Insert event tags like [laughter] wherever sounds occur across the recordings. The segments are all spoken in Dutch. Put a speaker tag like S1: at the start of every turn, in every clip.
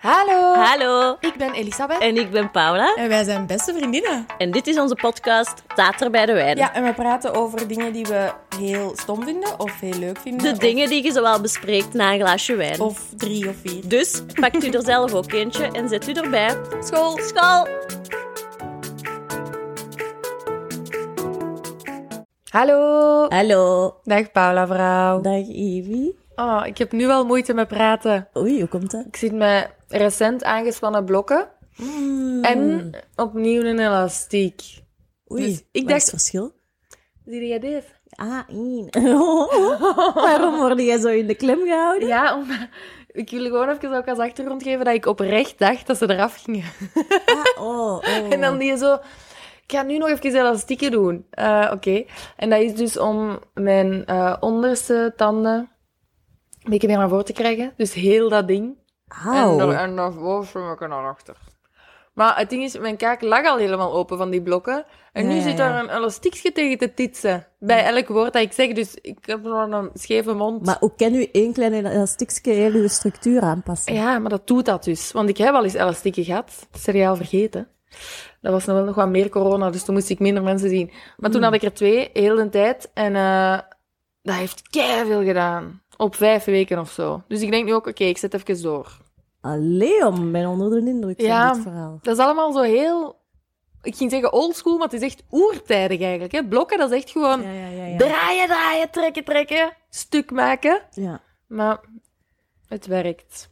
S1: Hallo.
S2: Hallo,
S1: Ik ben Elisabeth.
S2: en ik ben Paula.
S1: En wij zijn beste vriendinnen.
S2: En dit is onze podcast Tater bij de Wijn.
S1: Ja, en we praten over dingen die we heel stom vinden of heel leuk vinden.
S2: De
S1: of-
S2: dingen die je zowel bespreekt na een glaasje wijn.
S1: Of drie of vier.
S2: Dus pakt u er zelf ook eentje en zet u erbij.
S1: School.
S2: School!
S1: Hallo.
S2: Hallo.
S1: Dag Paula vrouw.
S2: Dag Evie.
S1: Oh, ik heb nu wel moeite met praten.
S2: Oei, hoe komt dat?
S1: Ik zit met recent aangespannen blokken Mm.
S2: Mm.
S1: en opnieuw een elastiek.
S2: Oei,
S1: Dus ik
S2: ik
S1: dacht-
S2: dacht... verschil?
S1: Zie jij dit?
S2: Ah, [laughs] in. Oh. Waarom word jij zo in de klem gehouden?
S1: Ja, om... ik wil gewoon even ook als achtergrond geven dat ik oprecht dacht dat ze eraf gingen.
S2: Ah, oh, oh.
S1: [laughs] En dan die zo... Ik ga nu nog even elastieken doen. Eh, Oké. En dat is dus om mijn eh, onderste tanden een beetje meer naar voren te krijgen. Dus heel dat ding. En
S2: Au.
S1: dan, en dan boven elkaar naar achter. Maar het ding is, mijn kaak lag al helemaal open van die blokken. En nu
S2: Ja, ja,
S1: zit
S2: ja.
S1: daar een elastiekje tegen te titsen. Bij elk woord dat ik zeg. Dus ik heb gewoon een scheve mond.
S2: Maar hoe kan u één klein elastiekje heel uw structuur aanpassen?
S1: Ja, maar dat doet dat dus. Want ik heb al eens elastieken gehad. Het seriaal vergeten. Dat was nog wel nog wat meer corona, dus toen moest ik minder mensen zien. Maar
S2: Hmm.
S1: toen had ik er twee, heel de tijd. En eh, dat heeft veel gedaan. Op vijf weken of zo. Dus ik denk nu ook, oké, ik zet even door.
S2: Allee, om, ik ben onder de indruk
S1: Ja.
S2: van dit verhaal.
S1: Dat is allemaal zo heel... Ik ging zeggen oldschool, maar het is echt oertijdig eigenlijk. Hè? Blokken, dat is echt gewoon
S2: ja, ja.
S1: draaien, draaien, trekken, trekken. Stuk maken.
S2: ja.
S1: Maar het werkt.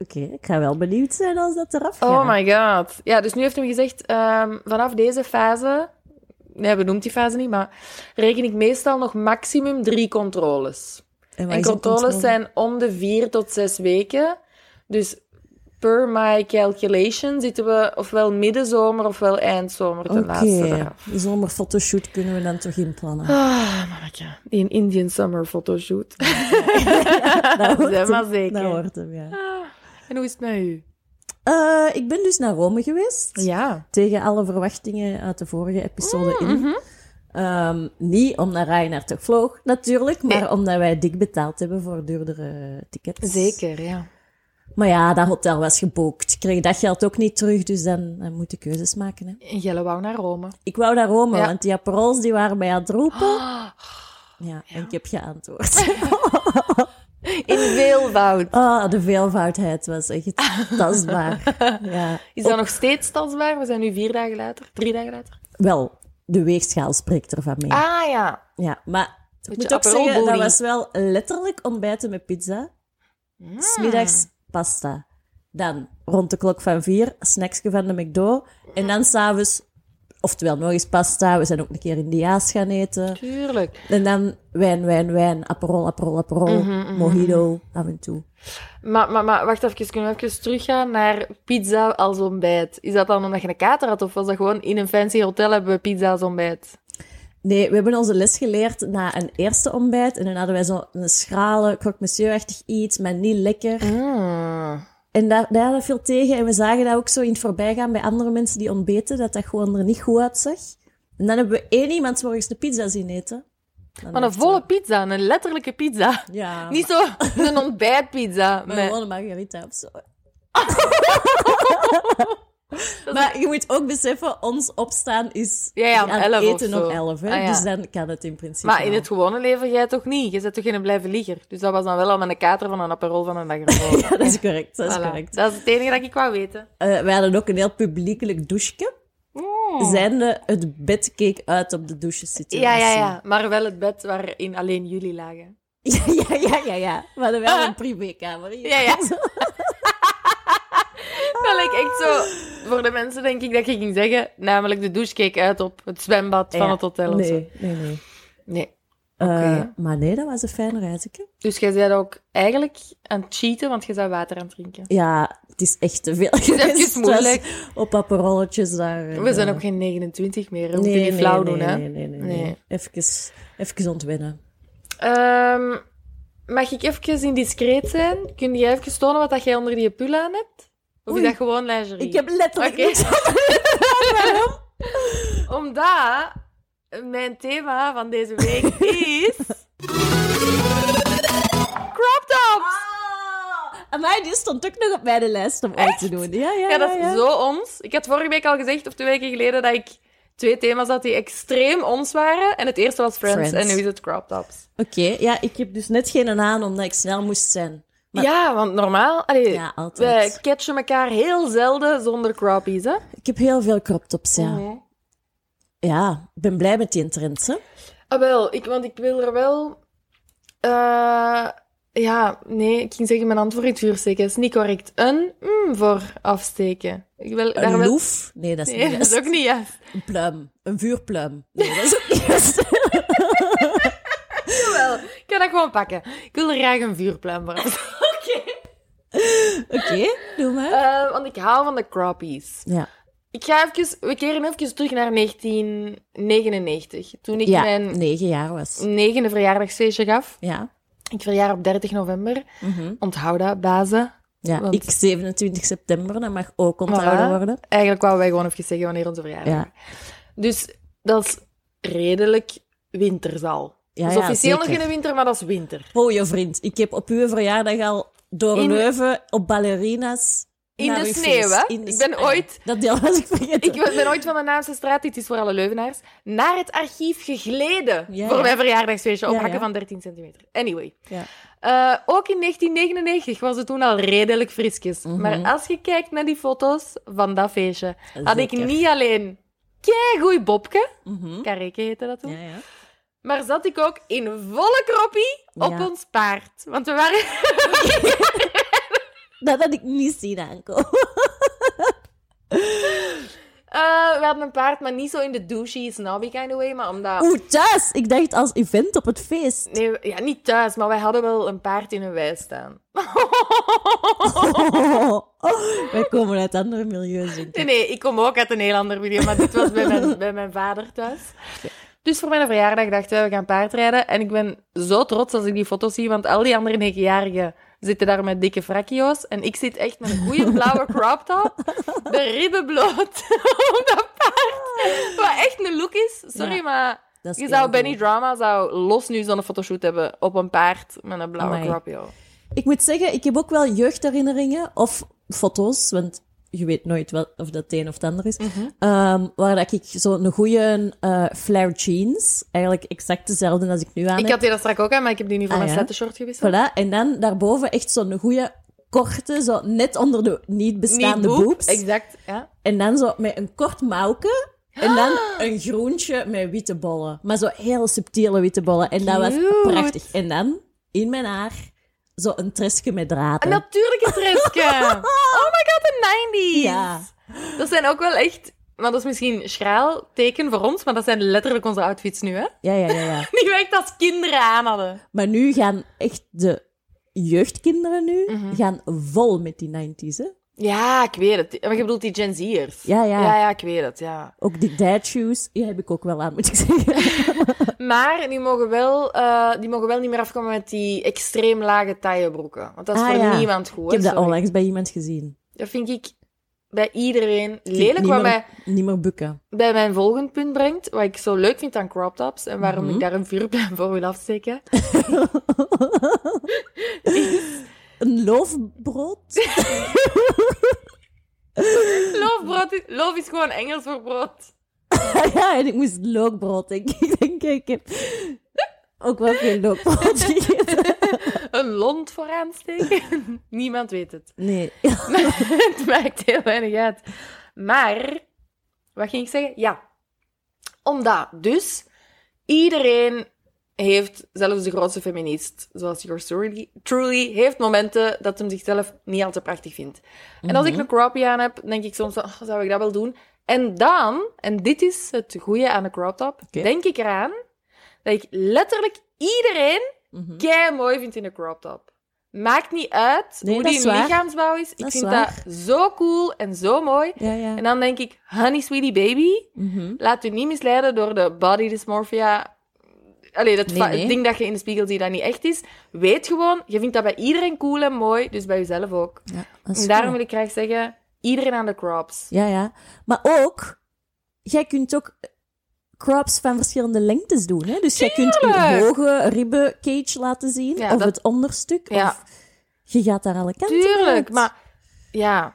S2: Oké, ik ga wel benieuwd zijn als dat eraf gaat.
S1: Oh my god. Ja, dus nu heeft hij me gezegd, ehm, vanaf deze fase, nee, we noemt die fase niet, maar reken ik meestal nog maximum drie controles.
S2: En,
S1: en controles
S2: zijn...
S1: zijn om de vier tot zes weken. Dus per my calculation zitten we ofwel middenzomer ofwel eindzomer ten laatste
S2: Oké,
S1: eraf.
S2: zonder fotoshoot kunnen we dan toch
S1: [laughs]
S2: inplannen.
S1: Ah, mamaka. Die een Indian summer fotoshoot. [laughs]
S2: Nou,
S1: Zeg maar zeker. Ah,
S2: Dat hoort hem, ja.
S1: En hoe is het met u?
S2: Eh, ik ben dus naar Rome geweest.
S1: Ja.
S2: Tegen alle verwachtingen uit de vorige episode
S1: Mm,
S2: in.
S1: mhm.
S2: Ehm, niet omdat Ryanair toch vloog, natuurlijk. Maar omdat wij dik betaald hebben voor duurdere tickets.
S1: Zeker, ja.
S2: Maar ja, dat hotel was geboekt. Ik kreeg dat geld ook niet terug, dus dan, dan moet ik keuzes maken. Hè.
S1: En Jelle wou naar Rome.
S2: Ik wou naar Rome,
S1: Ja.
S2: want die aperols die waren mij aan het roepen.
S1: Oh,
S2: Ja, en ik heb geantwoord. [laughs]
S1: In veelvoud.
S2: Ah, de veelvoudheid was echt
S1: [laughs]
S2: tastbaar. Ja.
S1: Is dat nog steeds tastbaar? We zijn nu vier dagen later, drie dagen later.
S2: Wel, de weegschaal spreekt ervan mee.
S1: Ah ja.
S2: Ja, maar ik
S1: Beetje
S2: moet ook
S1: Aperol
S2: zeggen, dat
S1: body.
S2: was wel letterlijk ontbijten met pizza.
S1: Ah.
S2: Smiddags pasta. Dan rond de klok van vier, snacksje van de McDo. En dan s'avonds, oftewel nog eens pasta. We zijn ook een keer Indiaas gaan eten.
S1: Tuurlijk.
S2: En dan wijn, wijn, wijn. Aperol, aperol, aperol.
S1: Mhm,
S2: Mojito, af en toe.
S1: Maar, maar, maar wacht even, kunnen we even teruggaan naar pizza als ontbijt? Is dat dan omdat je een kater had of was dat gewoon in een fancy hotel hebben we pizza als ontbijt?
S2: Nee, we hebben onze les geleerd na een eerste ontbijt. En dan hadden wij zo'n schrale, croque monsieur-achtig iets, maar niet lekker.
S1: Mhm. Mm.
S2: En daar, daar dat viel tegen. En we zagen dat ook zo in het voorbijgaan bij andere mensen die ontbeten, dat dat gewoon er niet goed uitzag. En dan hebben we één iemand 's morgens een pizza zien eten. Dan
S1: Maar een
S2: dachten
S1: volle pizza, een letterlijke pizza.
S2: we, Ja,
S1: Niet zo [laughs] een ontbijtpizza.
S2: maar
S1: met-
S2: gewoon een margarita of
S1: [laughs]
S2: zo. maar je moet ook beseffen, ons opstaan is
S1: Ja, ja, om
S2: gaan
S1: 11 of
S2: eten
S1: zo.
S2: om 11. Hè?
S1: Ah, ja.
S2: Dus dan kan het in principe
S1: Maar in
S2: wel.
S1: het gewone leven jij toch niet? Je bent toch geen blijven lieger? Dus dat was dan wel al met een kater van een aperol van een dag ervoor.
S2: Ja, [laughs] dat is correct, [laughs] dat is
S1: Voilà.
S2: correct.
S1: Dat is het enige dat ik wou weten.
S2: Eh, wij hadden ook een heel publiekelijk douche. Zijnde het bed keek uit op de douchesituatie.
S1: Mm. Ja, ja, ja. Maar wel het bed waarin alleen jullie lagen.
S2: Ja, [laughs] ja, ja, ja, ja. We hadden wel
S1: [laughs]
S2: een privékamer. hier.
S1: Ja, ja. Dat lijkt echt zo... Voor de mensen denk ik dat je ging zeggen, namelijk de douche keek uit op het zwembad van
S2: Ja.
S1: het hotel of zo.
S2: Nee, nee, nee.
S1: Nee.
S2: Eh,
S1: Oké.
S2: maar nee, dat was een fijn reisje.
S1: Dus jij bent ook eigenlijk aan het cheaten, want je bent water aan het drinken.
S2: Ja, het is echt te
S1: [laughs]
S2: veel geweest.
S1: even
S2: Het was
S1: moeilijk.
S2: Op aperolletjes daar. en,
S1: We zijn
S2: eh,
S1: ook geen 29 meer, we
S2: nee,
S1: moeten niet
S2: nee,
S1: flauw
S2: nee,
S1: doen, hè.
S2: Nee, nee, nee. nee.
S1: Nee.
S2: Even, even ontwennen.
S1: Ehm, mag ik even indiscreet zijn? Kun jij even tonen wat dat jij onder die pul aan hebt? Of
S2: Oei.
S1: is dat gewoon lingerie?
S2: Ik heb letterlijk
S1: Oké.
S2: niks aan.
S1: Omdat mijn thema van deze
S2: [laughs]
S1: week is... Crop tops!
S2: Ah! Amai, die stond ook nog op mijn lijst om uit te doen. Ja, ja,
S1: Ja, dat
S2: ja,
S1: is
S2: ja.
S1: zo ons. Ik had vorige week al gezegd, of twee weken geleden, dat ik twee thema's had die extreem ons waren. En het eerste was Friends,
S2: Friends.
S1: en nu is het Crop Tops.
S2: Oké, ja, ik heb dus net geen aan omdat ik snel moest zijn. Maar-
S1: Ja, want normaal... Allee,
S2: Ja, altijd.
S1: we catchen elkaar heel zelden zonder crappies, hè?
S2: Ik heb heel veel crop tops, ja.
S1: Mhm.
S2: Ja, ik ben blij met die trend, hè.
S1: Ah, wel, ik, want ik wil er wel... eh, ja, nee, ik ging zeggen mijn antwoord in het vuur steken. Dat is niet correct. Een mm voor afsteken. Ik wil daar
S2: Een
S1: wel...
S2: loef? Nee, dat is
S1: Nee, [laughs]
S2: niet
S1: dat is
S2: best.
S1: ook niet juist.
S2: Een pluim. Een [laughs] vuurpluim. Nee, dat is ook niet best.
S1: Ik kan dat gewoon pakken. Ik wil er graag een vuurpluim voor hebben.
S2: Oké, doe maar.
S1: [laughs] Eh, want ik hou van de crappies.
S2: Ja.
S1: Ik ga even, we keren even terug naar 1999. Toen ik Mm.
S2: ja,
S1: mijn
S2: negen jaar was.
S1: negende verjaardagsfeestje gaf.
S2: Ja.
S1: Ik verjaar op 30 november.
S2: Mhm.
S1: Onthoud dat, bazen.
S2: ja.
S1: Want-
S2: Ik 27 september, dat mag ook onthouden
S1: Voilà.
S2: worden.
S1: Eigenlijk wouden wij gewoon even zeggen wanneer onze verjaardag
S2: Ja.
S1: is. Dus dat is redelijk winters al.
S2: Ja,
S1: dat is
S2: ja,
S1: officieel nog
S2: zeker.
S1: in de winter, maar dat is winter.
S2: Oh, je vriend, ik heb op uw verjaardag al door
S1: In-
S2: Leuven op ballerina's...
S1: In
S2: naar
S1: de
S2: uw
S1: sneeuw,
S2: feest.
S1: hè?
S2: In de
S1: Ik ben
S2: sneeuw.
S1: ooit-
S2: Dat deel was ik vergeten.
S1: Ik ben ooit van de Naamse straat, dit is voor alle Leuvenaars, naar het archief gegleden
S2: Ja,
S1: voor
S2: ja.
S1: mijn verjaardagsfeestje op
S2: Ja,
S1: hakken
S2: ja.
S1: van 13 centimeter. Anyway.
S2: Ja.
S1: Eh, ook in 1999 was het toen al redelijk frisjes.
S2: Mhm.
S1: Maar als je kijkt naar die foto's van dat feestje, had ik
S2: Zeker.
S1: niet alleen keigoed Bobke,
S2: Mhm.
S1: Kareke heette dat toen,
S2: Ja, ja.
S1: maar zat ik ook in volle kroppie op
S2: Ja.
S1: ons paard. Want we waren... [laughs]
S2: Dat had ik niet zien
S1: [laughs]
S2: aankomen.
S1: eh, we hadden een paard, maar niet zo in de douchey, snobby kind of way, maar omdat...
S2: Oeh, thuis! Ik dacht als event op het feest. [laughs]
S1: Nee, we- ja, niet thuis, maar wij hadden wel een paard in een wei staan.
S2: Oh, Wij komen uit andere milieus, denk
S1: Nee,
S2: ik.
S1: nee, ik kom ook uit een heel ander milieu, maar dit was bij [laughs] mijn, bij mijn vader thuis. Dus voor mijn verjaardag dachten we, we gaan paardrijden. En ik ben zo trots als ik die foto's zie, want al die andere negenjarigen zitten daar met dikke frakio's. En ik zit echt met een goede blauwe crop [laughs] top, de ribben bloot, [laughs] op dat paard. Wat echt een look is. Sorry,
S2: Ja,
S1: maar
S2: Dat is
S1: je zou
S2: heel
S1: Benny
S2: goed.
S1: Drama zou los nu zo'n fotoshoot hebben op een paard met een blauwe
S2: Amai.
S1: cropio.
S2: Ik moet zeggen, ik heb ook wel jeugdherinneringen of foto's, want je weet nooit wel of dat het een of het ander is. Ehm, waar dat ik zo'n goede eh flare jeans, eigenlijk exact dezelfde als ik nu aan
S1: Ik
S2: heb.
S1: had die dat straks ook aan, maar ik heb die nu voor
S2: Ah,
S1: mijn
S2: ja?
S1: slette short gewisseld.
S2: Voilà, en dan daarboven echt zo'n goede korte, zo net onder de niet bestaande
S1: boep,
S2: boobs.
S1: Exact, ja.
S2: En dan zo met een kort mouwke. En dan een groentje met witte bollen. Maar zo heel subtiele witte bollen. En dat
S1: Cute.
S2: was prachtig. En dan, in mijn haar, zo een tresje met draden.
S1: Een natuurlijke [laughs] Treske. Oh my god, de 90s.
S2: Ja.
S1: Dat zijn ook wel echt... Maar dat is misschien schraal teken voor ons, maar dat zijn letterlijk onze outfits nu, hè? [laughs]
S2: Ja, ja, ja, ja.
S1: Die we echt als kinderen aan hadden.
S2: Maar nu gaan echt de jeugdkinderen nu
S1: Mhm.
S2: gaan vol met die 90s. Hè?
S1: Ja, ik weet het. Maar je bedoelt die Gen Z'ers.
S2: Ja, ja.
S1: Ja, ja, ik weet het, ja.
S2: Ook die dad shoes, die heb ik ook wel aan, moet ik zeggen.
S1: Maar die mogen wel, eh, die mogen wel niet meer afkomen met die extreem lage taillebroeken. Want dat is
S2: Ah,
S1: voor
S2: ja.
S1: niemand goed.
S2: Ik heb
S1: hè,
S2: dat
S1: sorry.
S2: onlangs bij iemand gezien.
S1: Dat vind ik bij iedereen
S2: Ik vind
S1: lelijk,
S2: niet
S1: wat mij...
S2: meer, niet meer bukken.
S1: bij mijn volgend punt brengt, wat ik zo leuk vind aan crop tops en waarom
S2: Mhm.
S1: ik daar een vuurpluim voor wil afsteken. [laughs]
S2: Een loofbrood?
S1: Loofbrood is, loof is gewoon Engels voor brood.
S2: ja, en ik moest loofbrood denken. [laughs] Ik denk, ik heb ook wel veel loofbrood
S1: [laughs]
S2: gegeten.
S1: Een lont voor aansteken. [laughs] Niemand weet het.
S2: Nee.
S1: het maakt heel weinig uit. Maar, wat ging ik zeggen? Ja, omdat dus iedereen heeft, zelfs de grootste feminist, zoals yours truly, truly heeft momenten dat hem zichzelf niet al te prachtig vindt. En als
S2: Mhm.
S1: ik een croppie aan heb, denk ik soms, van, oh, zou ik dat wel doen? En dan, en dit is het goede aan de crop top,
S2: Oké.
S1: denk ik eraan dat ik letterlijk iedereen
S2: Mhm.
S1: kei mooi vind in een crop top. Maakt niet uit
S2: Nee,
S1: hoe
S2: dat
S1: die
S2: is waar.
S1: lichaamsbouw is. Ik
S2: Dat is
S1: vind
S2: waar.
S1: dat zo cool en zo mooi.
S2: Ja, ja.
S1: En dan denk ik, honey sweetie baby,
S2: Mhm.
S1: laat u niet misleiden door de body dysmorphia. Allee, dat
S2: Nee,
S1: va-
S2: nee.
S1: ding dat je in de spiegel ziet dat niet echt is. Weet gewoon, je vindt dat bij iedereen cool en mooi, dus bij jezelf ook.
S2: Ja, dat is
S1: En daarom
S2: goed.
S1: wil ik graag zeggen, iedereen aan de crops.
S2: Ja, ja. Maar ook, jij kunt ook crops van verschillende lengtes doen. Hè? Dus jij kunt een
S1: Tuurlijk!
S2: hoge ribbencage laten zien,
S1: Ja,
S2: of
S1: dat-
S2: het onderstuk.
S1: Ja.
S2: Of... Je gaat daar alle kanten
S1: Tuurlijk,
S2: uit.
S1: maar ja.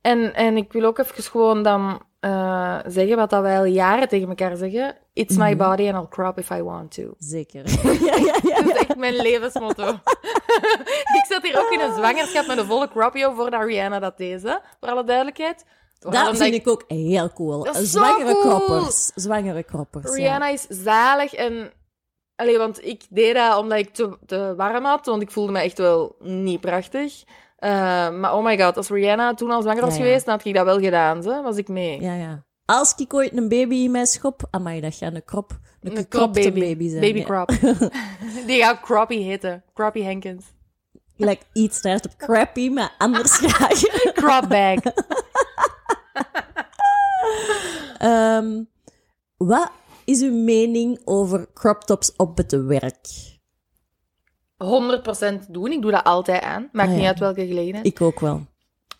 S1: En, en ik wil ook even gewoon dan eh, zeggen wat dat wij al jaren tegen elkaar zeggen. It's my body and I'll crop if I want to.
S2: Zeker. [laughs] ja, ja, ja.
S1: Dat is echt mijn levensmotto. [laughs] ik zat hier ook in een zwangerschap met een volle cropio voordat Rihanna dat deed, hè, voor alle duidelijkheid. Vooral
S2: Dat
S1: omdat
S2: vind ik ook heel cool.
S1: Dat is zo
S2: Zwangere
S1: cool.
S2: kroppers. Zwangere kroppers, ja.
S1: Rihanna is zalig en... Allee, want ik deed dat omdat ik te, te warm had, want ik voelde me echt wel niet prachtig. Eh, maar oh my god, als Rihanna toen al zwanger was
S2: Ja, ja.
S1: geweest, dan had ik dat wel gedaan, ze. was ik mee.
S2: Ja, ja. Als ik ooit een baby in mijn schop... Amai, dat gaat een krop... Een,
S1: Een
S2: gekropte
S1: cropbaby.
S2: baby. zijn.
S1: Baby
S2: ja. [laughs]
S1: crop. Die gaat Croppy heten. Croppy Henkins.
S2: Like, iets start op crappy, maar
S1: [laughs]
S2: anders ga je...
S1: Crop bag.
S2: Ehm, wat is uw mening over crop tops op het werk?
S1: 100% doen. Ik doe dat altijd aan. Maakt
S2: Ah, ja.
S1: niet uit welke gelegenheid.
S2: Ik ook wel.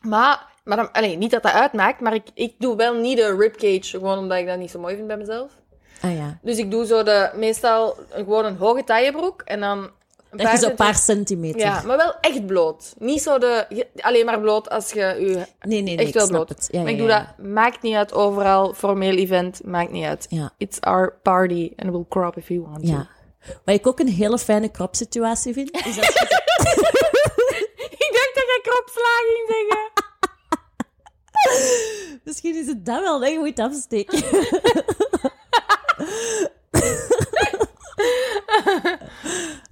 S1: Maar, maar dan, allee, niet dat dat uitmaakt, maar ik, ik doe wel niet de ribcage, gewoon omdat ik dat niet zo mooi vind bij mezelf.
S2: Ah ja.
S1: Dus ik doe zo de, meestal gewoon een hoge taillebroek en dan... Een
S2: Dat is een
S1: centi-
S2: paar centimeter.
S1: Ja, maar wel echt bloot. Niet zo de... je- Alleen maar bloot als je je...
S2: Nee, nee, nee,
S1: Echt
S2: ik
S1: wel
S2: snap
S1: bloot.
S2: het. Ja,
S1: maar
S2: ja,
S1: ik doe
S2: ja.
S1: dat... Maakt niet uit, overal. Formeel event, maakt niet uit.
S2: Ja.
S1: It's our party and we'll crop if you want to.
S2: Ja. Wat ik ook een hele fijne crop situatie vind, is
S1: [laughs]
S2: als je
S1: [laughs] Ik dacht dat jij kropslaag ging
S2: [laughs]
S1: zeggen.
S2: Misschien is het dat wel dat je moet
S1: [laughs]
S2: afsteken.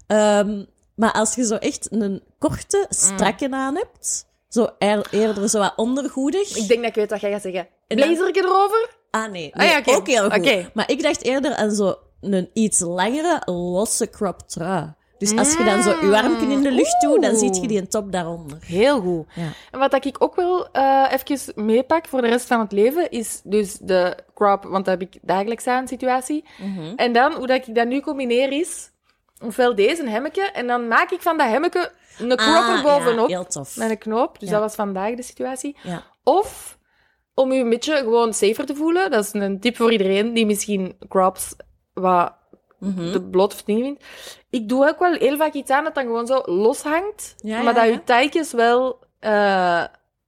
S2: Ehm, maar als je zo echt een korte, strakke
S1: Mm.
S2: aan hebt, zo eer- eerder zo wat ondergoedig.
S1: Ik denk dat ik weet wat jij gaat zeggen.
S2: dan-
S1: Blazer ik erover?
S2: Ah nee,
S1: Ah ja,
S2: nee,
S1: oké.
S2: ook heel goed.
S1: Oké.
S2: Maar ik dacht eerder aan zo een iets langere, losse crop trui. Dus als je dan zo je armken in de lucht doet, dan
S1: Oeh.
S2: ziet je die een top daaronder.
S1: Heel goed.
S2: Ja.
S1: En wat dat ik ook wel eh even meepak voor de rest van het leven, is dus de crop, want dat heb ik dagelijks aan, situatie.
S2: Mhm.
S1: En dan, hoe dat ik dat nu combineer, is ofwel deze hemmetje, en dan maak ik van dat hemmetje een crop
S2: Ah,
S1: er bovenop
S2: Ja, heel tof.
S1: met een knoop. Dus
S2: Ja.
S1: dat was vandaag de situatie.
S2: Ja.
S1: Of om je een beetje gewoon safer te voelen. Dat is een tip voor iedereen die misschien crops wat
S2: Mhm.
S1: te blot of dingen vindt. Ik doe ook wel heel vaak iets aan dat dan gewoon zo los hangt.
S2: Ja,
S1: maar
S2: ja,
S1: dat
S2: ja.
S1: je tijtjes wel eh,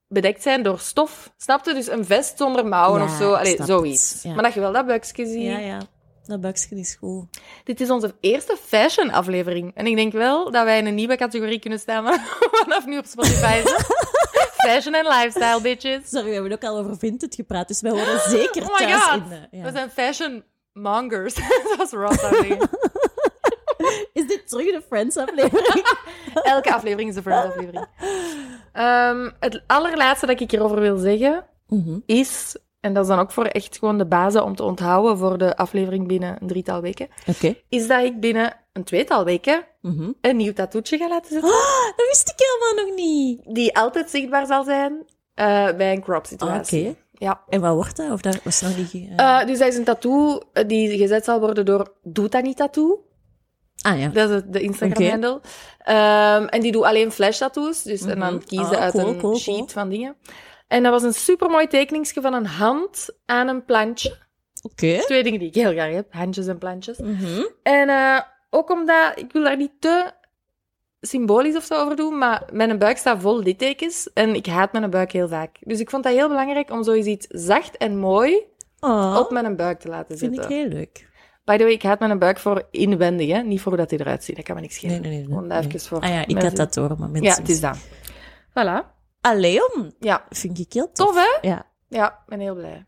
S1: bedekt zijn door stof. Snap je? Dus een vest zonder mouwen
S2: Ja,
S1: of zo.
S2: ik
S1: Allee,
S2: snap
S1: zoiets.
S2: het, ja.
S1: Maar dat je wel dat buikje ziet.
S2: Ja, ja. Dat buksje is goed.
S1: Dit is onze eerste fashion aflevering. En ik denk wel dat wij in een nieuwe categorie kunnen staan [laughs] vanaf nu op Spotify.
S2: [laughs]
S1: hè. fashion en lifestyle, bitches.
S2: Sorry, we hebben ook al over Vinted gepraat, dus wij horen
S1: [laughs]
S2: zeker
S1: Oh my
S2: thuis
S1: God.
S2: in. eh, ja.
S1: We zijn fashion mongers. [laughs] Zoals Ross zou zeggen.
S2: Is dit terug de Friends-aflevering?
S1: Elke aflevering is een Friends-aflevering. Ehm, het allerlaatste dat ik hierover wil zeggen
S2: [laughs] Mhm.
S1: is... En dat is dan ook voor echt gewoon de basis om te onthouden voor de aflevering binnen een drietal weken.
S2: Oké.
S1: Is dat ik binnen een tweetal weken
S2: Mhm.
S1: een nieuw tattoetje ga laten zetten.
S2: Ah, dat wist ik helemaal nog niet.
S1: Die altijd zichtbaar zal zijn eh, bij een crop situatie.
S2: Ah, Oké.
S1: Ja.
S2: En wat wordt dat? Of dat was nog niet... eh,
S1: Eh, dus dat is een tattoo eh, die gezet zal worden door Doet dat niet tattoo.
S2: ah ja.
S1: Dat is het- de Instagram-handle. Ehm, en die doet alleen flash-tattoos. Dus, En dan
S2: Mhm.
S1: kiezen
S2: Ah,
S1: uit
S2: cool,
S1: een
S2: cool,
S1: sheet
S2: cool.
S1: van dingen. En dat was een supermooi tekeningsje van een hand aan een plantje.
S2: Oké.
S1: Twee dingen die ik heel graag heb. Handjes en plantjes.
S2: Mhm.
S1: En eh, ook omdat, ik wil daar niet te symbolisch of zo over doen, maar mijn buik staat vol littekens. En ik haat mijn buik heel vaak. Dus ik vond dat heel belangrijk om zoiets iets zacht en mooi
S2: Oh,
S1: op mijn buik te laten
S2: vind ik
S1: zitten.
S2: heel leuk.
S1: By the way, ik haat mijn buik voor inwendig, hè? niet voor hoe dat hij eruit ziet. Dat kan me niks schelen.
S2: Nee, nee, nee. nee,
S1: Gewoon dat
S2: nee.
S1: even voor
S2: Ah ja, ik had
S1: mensen.
S2: dat door, maar mensen...
S1: Ja, het is dat. Voilà.
S2: Ah, Leon,
S1: Ja.
S2: vind ik heel tof.
S1: Tof, hè?
S2: Ja.
S1: Ja, ik ben heel blij.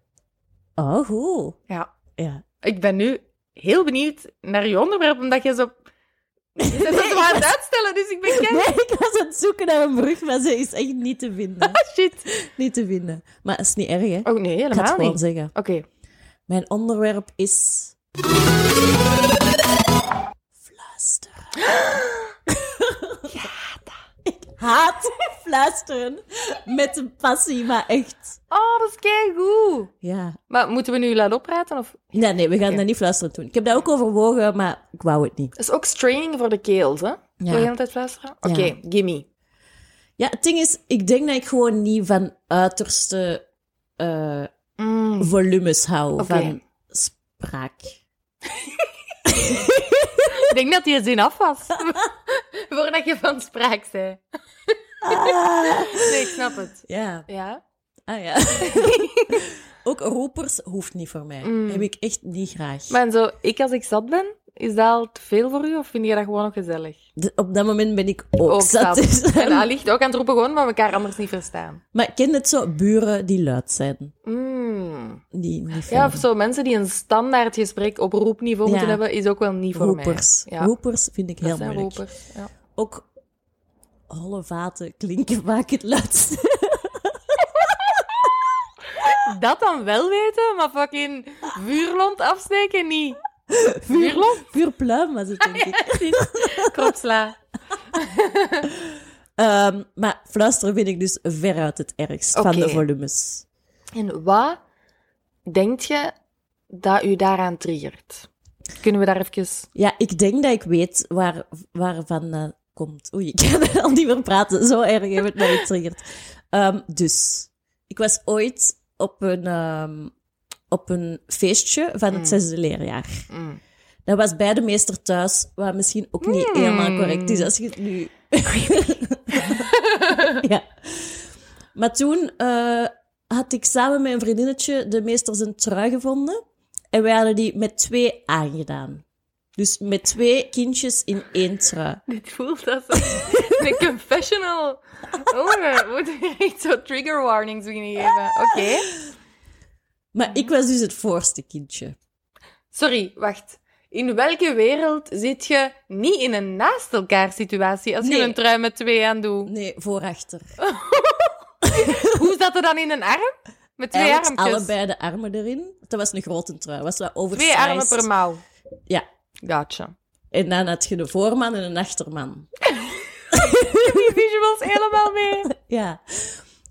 S2: Oh, goed.
S1: Ja.
S2: Ja.
S1: Ik ben nu heel benieuwd naar je onderwerp, omdat je zo... [laughs] Je bent dat zo aan
S2: [laughs]
S1: het uitstellen, dus ik ben kei...
S2: Nee, ik was aan het zoeken naar een brug, maar ze is echt niet te vinden.
S1: [laughs] Shit.
S2: niet te vinden. Maar dat is niet erg, hè?
S1: Oh, nee,
S2: ik ga het
S1: helemaal
S2: gewoon
S1: niet.
S2: zeggen.
S1: Oké.
S2: Mijn onderwerp is.
S1: [gasps]
S2: Fluisteren. Ik haat fluisteren met een passie, maar echt.
S1: Oh, dat is kei goed.
S2: Ja.
S1: Maar moeten we nu laten oppraten? Of...
S2: Nee, nee, we gaan
S1: Oké.
S2: dat niet fluisteren doen. Ik heb dat ook overwogen, maar ik wou het niet.
S1: Dat is ook straining voor de keels, hè? Wil je de hele tijd fluisteren? Oké,
S2: Ja.
S1: gimme.
S2: Ja, het ding is, ik denk dat ik gewoon niet van uiterste eh,
S1: Mm.
S2: volumes hou.
S1: Oké.
S2: Van spraak.
S1: Ik denk dat die zin af
S2: [laughs]
S1: was. [laughs] Voordat je van spraak zei. Ah. Nee, ik snap het.
S2: [laughs] Ja.
S1: Ja?
S2: Ah
S1: [laughs]
S2: ja. Ook roepers hoeft niet voor mij. Heb ik echt niet graag.
S1: Mm. Maar en zo, ik als ik zat ben, is dat al te veel voor u? Of vind je dat gewoon nog gezellig?
S2: De- op dat moment ben ik ook, zat. Dus,
S1: En dat ligt ook aan het roepen gewoon, maar elkaar anders niet verstaan.
S2: [laughs] Maar ik ken het zo, buren die luid zijn.
S1: Mm.
S2: Die niet
S1: Ja,
S2: fijn.
S1: of zo mensen die een standaard gesprek op roepniveau
S2: Ja.
S1: moeten hebben, is ook wel niet voor
S2: roepers.
S1: mij. Ja,
S2: Roepers vind ik heel
S1: dat zijn
S2: moeilijk.
S1: roepers. Ja.
S2: Ook holle vaten klinken vaak het luidst.
S1: Dat dan wel weten, maar fucking vuurlont afsteken
S2: [laughs]
S1: niet. Vuurlont?
S2: Puur pluim was het, denk ik.
S1: Kropsla.
S2: Ehm, maar fluisteren vind ik dus veruit het ergst van de
S1: Oké.
S2: volumes.
S1: En wat denk je dat u daaraan triggert? Kunnen we daar even...
S2: Ja, ik denk dat ik weet waar, waarvan dat komt. Oei, [laughs] ik kan er al niet meer praten. Zo erg heeft het mij getriggerd. Ehm, dus, ik was ooit op een, ehm, op een feestje van het zesde leerjaar.
S1: Mm.
S2: Dat was bij de meester thuis, wat misschien ook niet
S1: Hmm.
S2: helemaal correct is als je het nu... [laughs] ja. Maar toen eh, had ik samen met een vriendinnetje de meester zijn trui gevonden. En wij hadden die met twee aangedaan. Dus met twee kindjes in één trui.
S1: [laughs] Dit voelt als een, [laughs] een confessional. Oh, we moeten hier echt zo trigger warnings beginnen geven. Oké.
S2: Maar ik was dus het voorste kindje.
S1: Sorry, wacht. In welke wereld zit je niet in een naast elkaar situatie als
S2: Nee.
S1: je een trui met twee aan
S2: [laughs]
S1: doet?
S2: Nee, voorachter.
S1: Hoe zat er dan in een arm? Met twee
S2: Eigenlijk
S1: armpjes.
S2: allebei de armen erin. Dat was een grote trui. Was dat oversized.
S1: Twee armen per mouw.
S2: Ja.
S1: Gotcha. [laughs]
S2: En dan had je een voorman en een achterman.
S1: Die visuals helemaal mee.
S2: Ja.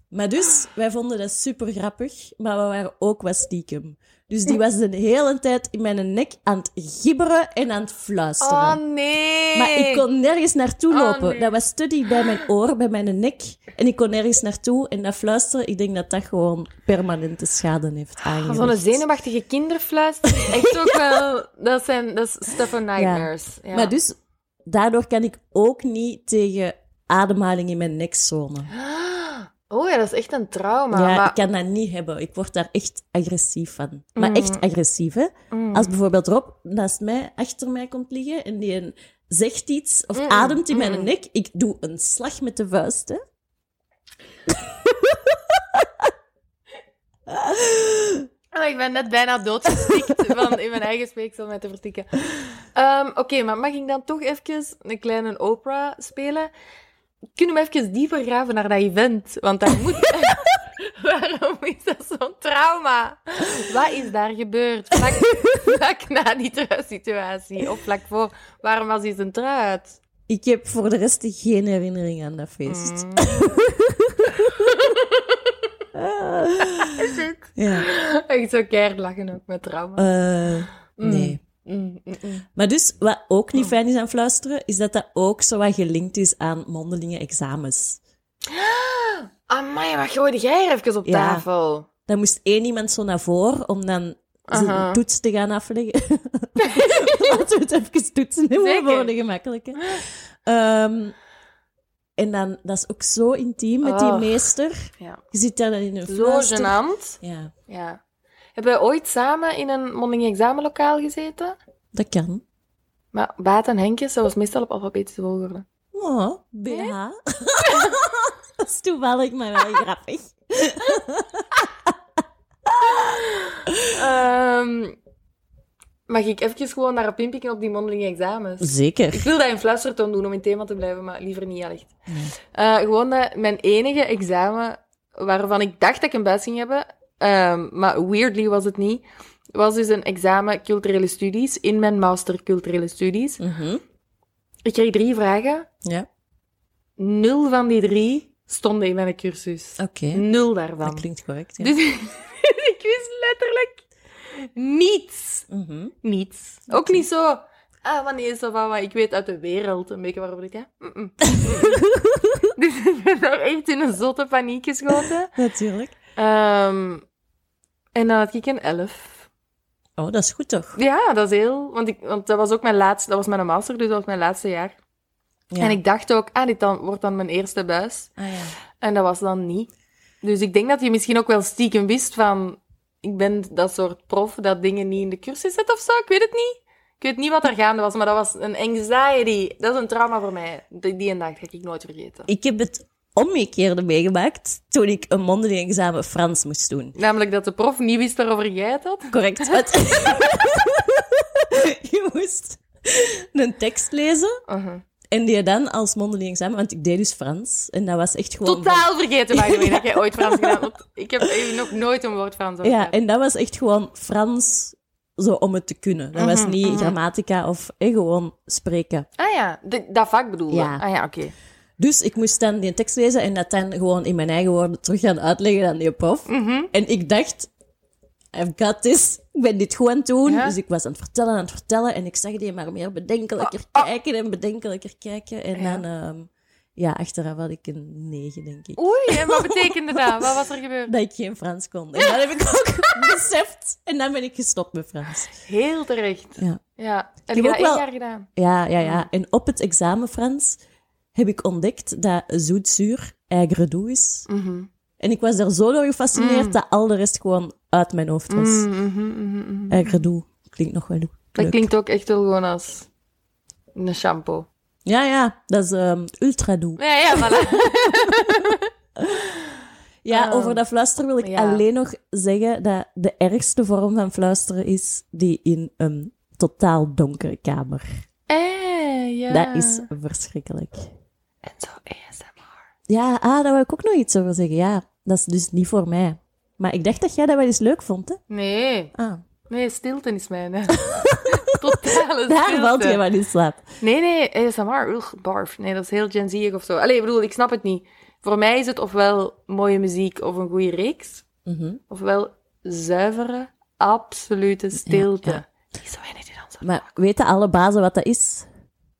S2: Maar dus, wij vonden dat super grappig, maar we waren ook wat stiekem. Dus die was de hele tijd in mijn nek aan het gibberen en aan het fluisteren.
S1: Oh nee.
S2: Maar ik kon nergens naartoe
S1: Oh,
S2: lopen.
S1: nee.
S2: Dat was te dicht bij mijn oor, bij mijn nek. En ik kon nergens naartoe. En dat fluisteren, ik denk dat dat gewoon permanente schade heeft
S1: Ah,
S2: aangericht.
S1: Zo'n zenuwachtige kinderfluister.
S2: [laughs]
S1: Echt ook wel. Dat zijn dat is stuff of nightmares. Ja.
S2: Maar dus, daardoor kan ik ook niet tegen ademhaling in mijn nekzone.
S1: Oh ja, dat is echt een trauma.
S2: ja,
S1: maar...
S2: ik kan dat niet hebben. Ik word daar echt agressief van. Maar echt
S1: Mm.
S2: agressief, hè. Als bijvoorbeeld Rob naast mij, achter mij komt liggen en die een- zegt iets
S1: Mm.
S2: of ademt in mijn nek, ik doe een slag met de vuist, hè.
S1: Oh, ik ben net bijna
S2: [laughs]
S1: doodgestikt van in mijn eigen speeksel mij te vertikken. Ehm, Oké, maar mag ik dan toch even een kleine opera spelen? Kunnen we even dieper graven naar dat event? Want daar moet...
S2: [laughs]
S1: Waarom is dat zo'n trauma? Wat is daar gebeurd? Vlak,
S2: [laughs]
S1: vlak na die trui-situatie of vlak voor. Waarom was die zijn trui uit?
S2: Ik heb voor de rest geen herinnering aan dat feest.
S1: Mm. Mm.
S2: [laughs]
S1: [laughs]
S2: Ja.
S1: Echt zo keihard lachen ook met trauma.
S2: Eh, nee.
S1: Mm, mm, mm.
S2: Maar dus, wat ook niet fijn is aan fluisteren, is dat dat ook zo wat gelinkt is aan mondelinge examens.
S1: Amai, wat gooide jij er even op
S2: Ja.
S1: tafel?
S2: Dan moest één iemand zo naar voren om dan
S1: Aha.
S2: zijn toets te gaan afleggen. [laughs] Laten we het even toetsen
S1: Zeker.
S2: doen voor de gemakkelijke. Ehm, en dan, dat is ook zo intiem met die
S1: Oh.
S2: meester.
S1: Ja.
S2: Je zit daar dan in een
S1: Zo
S2: fluister-
S1: gênant.
S2: Ja,
S1: Ja. Hebben wij ooit samen in een mondeling examenlokaal gezeten?
S2: dat kan.
S1: Maar Baat en Henkjes, dat was meestal op alfabetische volgorde.
S2: Oh, BH. [laughs] dat is toevallig, maar wel grappig.
S1: Ehm, mag ik even gewoon naar pimpiken op die mondeling examens?
S2: Zeker.
S1: Ik wil dat in fluistertoon doen om in thema te blijven, maar liever niet echt. Eh, gewoon dat mijn enige examen waarvan ik dacht dat ik een buis ging hebben, ehm, maar weirdly was het niet, was dus een examen culturele studies in mijn master culturele studies.
S2: Mhm.
S1: Ik kreeg drie vragen.
S2: Ja,
S1: Nul van die drie stonden in mijn cursus.
S2: oké.
S1: Nul daarvan.
S2: Dat klinkt correct. Ja.
S1: Mm, Dus [laughs] ik wist letterlijk niets.
S2: Mhm.
S1: Niets. Ook niet zo. Ah, wanneer is dat van wat ik weet uit de wereld? Een beetje waarop ik. Hè? Mm-mm. dus ik ben daar echt in een zotte paniek geschoten.
S2: Natuurlijk.
S1: Ehm, en dan had ik een elf.
S2: Oh, dat is goed toch?
S1: Ja, dat is heel... Want, ik, want dat was ook mijn laatste... Dat was mijn master, dus dat was mijn laatste jaar.
S2: Ja.
S1: En ik dacht ook, ah, dit dan, wordt dan mijn eerste buis.
S2: Ah, ja.
S1: En dat was dan niet. Dus ik denk dat je misschien ook wel stiekem wist van... Ik ben dat soort prof dat dingen niet in de cursus zet of zo. Ik weet het niet. Ik weet niet wat er gaande was, maar dat was een anxiety. Dat is een trauma voor mij. Die, die een dag ga ik nooit vergeten.
S2: Ik heb het omgekeerde meegemaakt toen ik een mondeling examen Frans moest doen.
S1: Namelijk dat de prof niet wist waarover jij het had.
S2: [laughs] Correct. Het- je moest een tekst lezen
S1: Uh-huh.
S2: en die dan als mondeling examen, want ik deed dus Frans en dat was echt gewoon... van-
S1: Totaal vergeten, by the way, dat jij ooit Frans gedaan hebt. [laughs] Want Ik heb eh, nog nooit een woord Frans over
S2: Ja, en dat was echt gewoon Frans zo om het te kunnen. Dat was niet grammatica of eh, gewoon spreken.
S1: Ah ja, de- dat vak bedoel je?
S2: Ja.
S1: Ah ja, oké.
S2: Dus ik moest dan die tekst lezen en dat dan gewoon in mijn eigen woorden terug gaan uitleggen aan die prof. En ik dacht, I've got this. Ik ben dit goed aan het doen.
S1: Ja.
S2: Dus ik was aan het vertellen, aan het vertellen. En ik zag die maar meer bedenkelijker kijken en bedenkelijker kijken. En dan, ehm, ja, achteraf had ik een negen, denk ik.
S1: Oei, en wat betekende dat? Wat was er gebeurd?
S2: Dat ik geen Frans kon. En dat heb ik ook [laughs] beseft. En dan ben ik gestopt met Frans.
S1: Heel terecht.
S2: Ja.
S1: Ja, heb
S2: heb
S1: je
S2: ook
S1: dat één
S2: wel-
S1: jaar gedaan?
S2: Ja, ja,
S1: Ah.
S2: ja. En op het examen Frans heb ik ontdekt dat zoet-zuur eigen redoe is.
S1: Mhm.
S2: En ik was daar zo door gefascineerd
S1: Mm.
S2: dat al de rest gewoon uit mijn hoofd was. Eigen redoe klinkt nog wel leuk.
S1: mhm, Dat klinkt ook echt wel gewoon als een shampoo.
S2: Ja, ja, dat is ehm ultra doe.
S1: Ja, ja, voilà.
S2: Ja, over dat fluisteren wil ik
S1: Ah. ja.
S2: alleen nog zeggen dat de ergste vorm van fluisteren is die in een totaal donkere kamer.
S1: [laughs] Eh, ja.
S2: Dat is verschrikkelijk.
S1: En zo ASMR.
S2: Ja, ah, daar wil ik ook nog iets over zeggen. Ja, dat is dus niet voor mij. Maar ik dacht dat jij dat wel eens leuk vond, hè?
S1: Nee,
S2: Ah,
S1: nee, stilte is mijn... hè. Totale
S2: daar valt je
S1: stilte.
S2: wel in slaap.
S1: Nee, nee, ASMR, ugh, barf. Nee, dat is heel Gen Z of zo. Allee, ik bedoel, ik snap het niet. Voor mij is het ofwel mooie muziek of een goede reeks,
S2: Mhm.
S1: ofwel zuivere, absolute stilte.
S2: ja.
S1: Die is zo weinig die dan zo.
S2: Maar weten alle bazen wat dat is?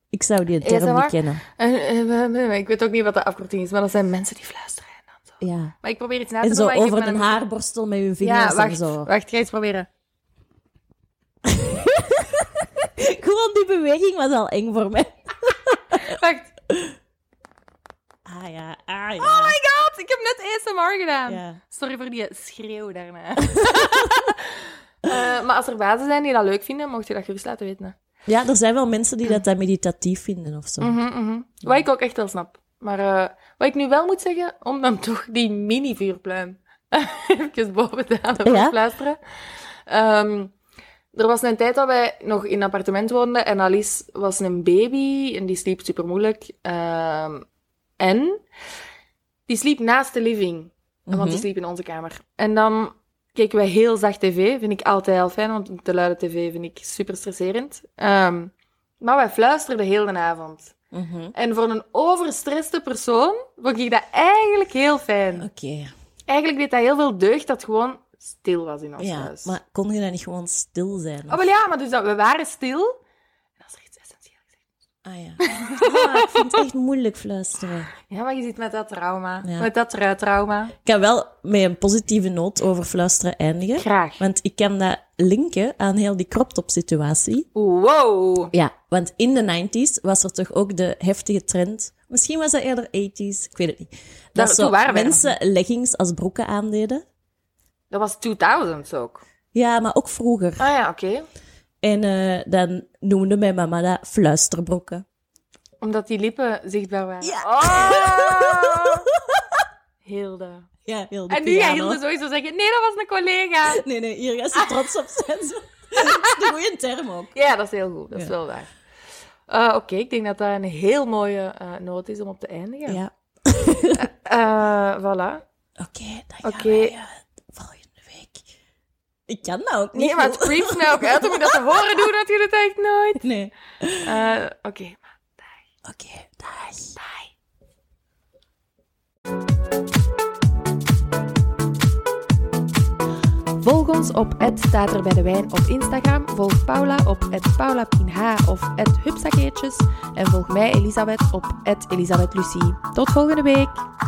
S2: Ik zou die term
S1: ASMR?
S2: niet kennen.
S1: Eh, eh, eh, eh, ik weet ook niet wat de afkorting is, maar dat zijn mensen die fluisteren en dan zo.
S2: Ja.
S1: Maar ik probeer iets na te
S2: En
S1: doen.
S2: zo
S1: maar ik heb
S2: over
S1: mijn-
S2: een haarborstel met hun vingers
S1: Ja,
S2: en
S1: wacht,
S2: zo.
S1: wacht, ga eens proberen.
S2: Gewoon die beweging was al eng voor mij. Eh.
S1: Wacht,
S2: Ah ja, ah ja.
S1: oh my god, ik heb net ASMR gedaan.
S2: Ja.
S1: Sorry voor die schreeuw daarna. [laughs] Eh, maar als er bazen zijn die dat leuk vinden, mocht je dat gerust laten weten. hè.
S2: ja, er zijn wel mensen die dat, dat meditatief vinden of zo.
S1: Mhm, mhm. Wat ik ook echt wel snap. Maar eh, wat ik nu wel moet zeggen, om dan [laughs] toch die mini-vuurpluim [laughs] even boven te halen
S2: Ja.
S1: ja? luisteren. Ehm, er was een tijd dat wij nog in een appartement woonden en Alice was een baby en die sliep super moeilijk. en die sliep naast de living, want
S2: Mhm.
S1: die sliep in onze kamer. En dan keken wij heel zacht tv, vind ik altijd heel fijn, want te luide tv vind ik super stresserend. Ehm, maar wij fluisterden heel de avond.
S2: Mhm.
S1: En voor een overstresste persoon vond ik dat eigenlijk heel fijn.
S2: Oké,
S1: Eigenlijk deed dat heel veel deugd dat het gewoon stil was in ons
S2: ja.
S1: huis.
S2: Maar kon je dan niet gewoon stil zijn?
S1: Oh, wel ja, maar dus dat, we waren stil. En als er iets essentieels is.
S2: Ah ja. Ah, ik vind het echt moeilijk fluisteren.
S1: Ja, maar je zit met dat trauma.
S2: Ja.
S1: Met dat tra- trauma.
S2: Ik kan wel met een positieve noot over fluisteren eindigen.
S1: Graag.
S2: Want ik kan dat linken aan heel die crop top situatie.
S1: Wow.
S2: Ja, want in de 90s was er toch ook de heftige trend. Misschien was dat eerder 80s, ik weet het niet.
S1: Daar-
S2: Dat
S1: toen
S2: zo
S1: waren wij
S2: mensen leggings als broeken aandeden.
S1: Dat was 2000 ook.
S2: Ja, maar ook vroeger.
S1: Ah ja, oké.
S2: En eh, dan noemde mijn mama dat fluisterbroeken.
S1: Omdat die lippen zichtbaar waren.
S2: Ja. [laughs]
S1: Oh. Hilde.
S2: Ja, heel de
S1: En nu jij
S2: piano.
S1: Hilde sowieso zeggen, nee, dat was een collega.
S2: Nee, nee, hier gaat ze trots op zijn. [laughs] zo. Dat is een goede term ook.
S1: Ja, dat is heel goed. Dat is
S2: Ja.
S1: wel waar. Eh, Oké, ik denk dat dat een heel mooie eh noot is om op te eindigen.
S2: Ja.
S1: Eh, voilà.
S2: Oké, dan gaan
S1: Oké.
S2: wij, eh, volgende week. Ik kan dat ook niet.
S1: Nee, maar het creeps mij ook uit om je dat te horen doen dat jullie het echt nooit.
S2: [laughs] Nee.
S1: Eh, Oké, maar
S2: Oké, dag.
S1: bye. Volg ons op staat er bij de wijn op Instagram. Volg Paula op paulapinh of hupsakeertjes. En volg mij, Elisabeth, op Elisabeth Lucie. Tot volgende week.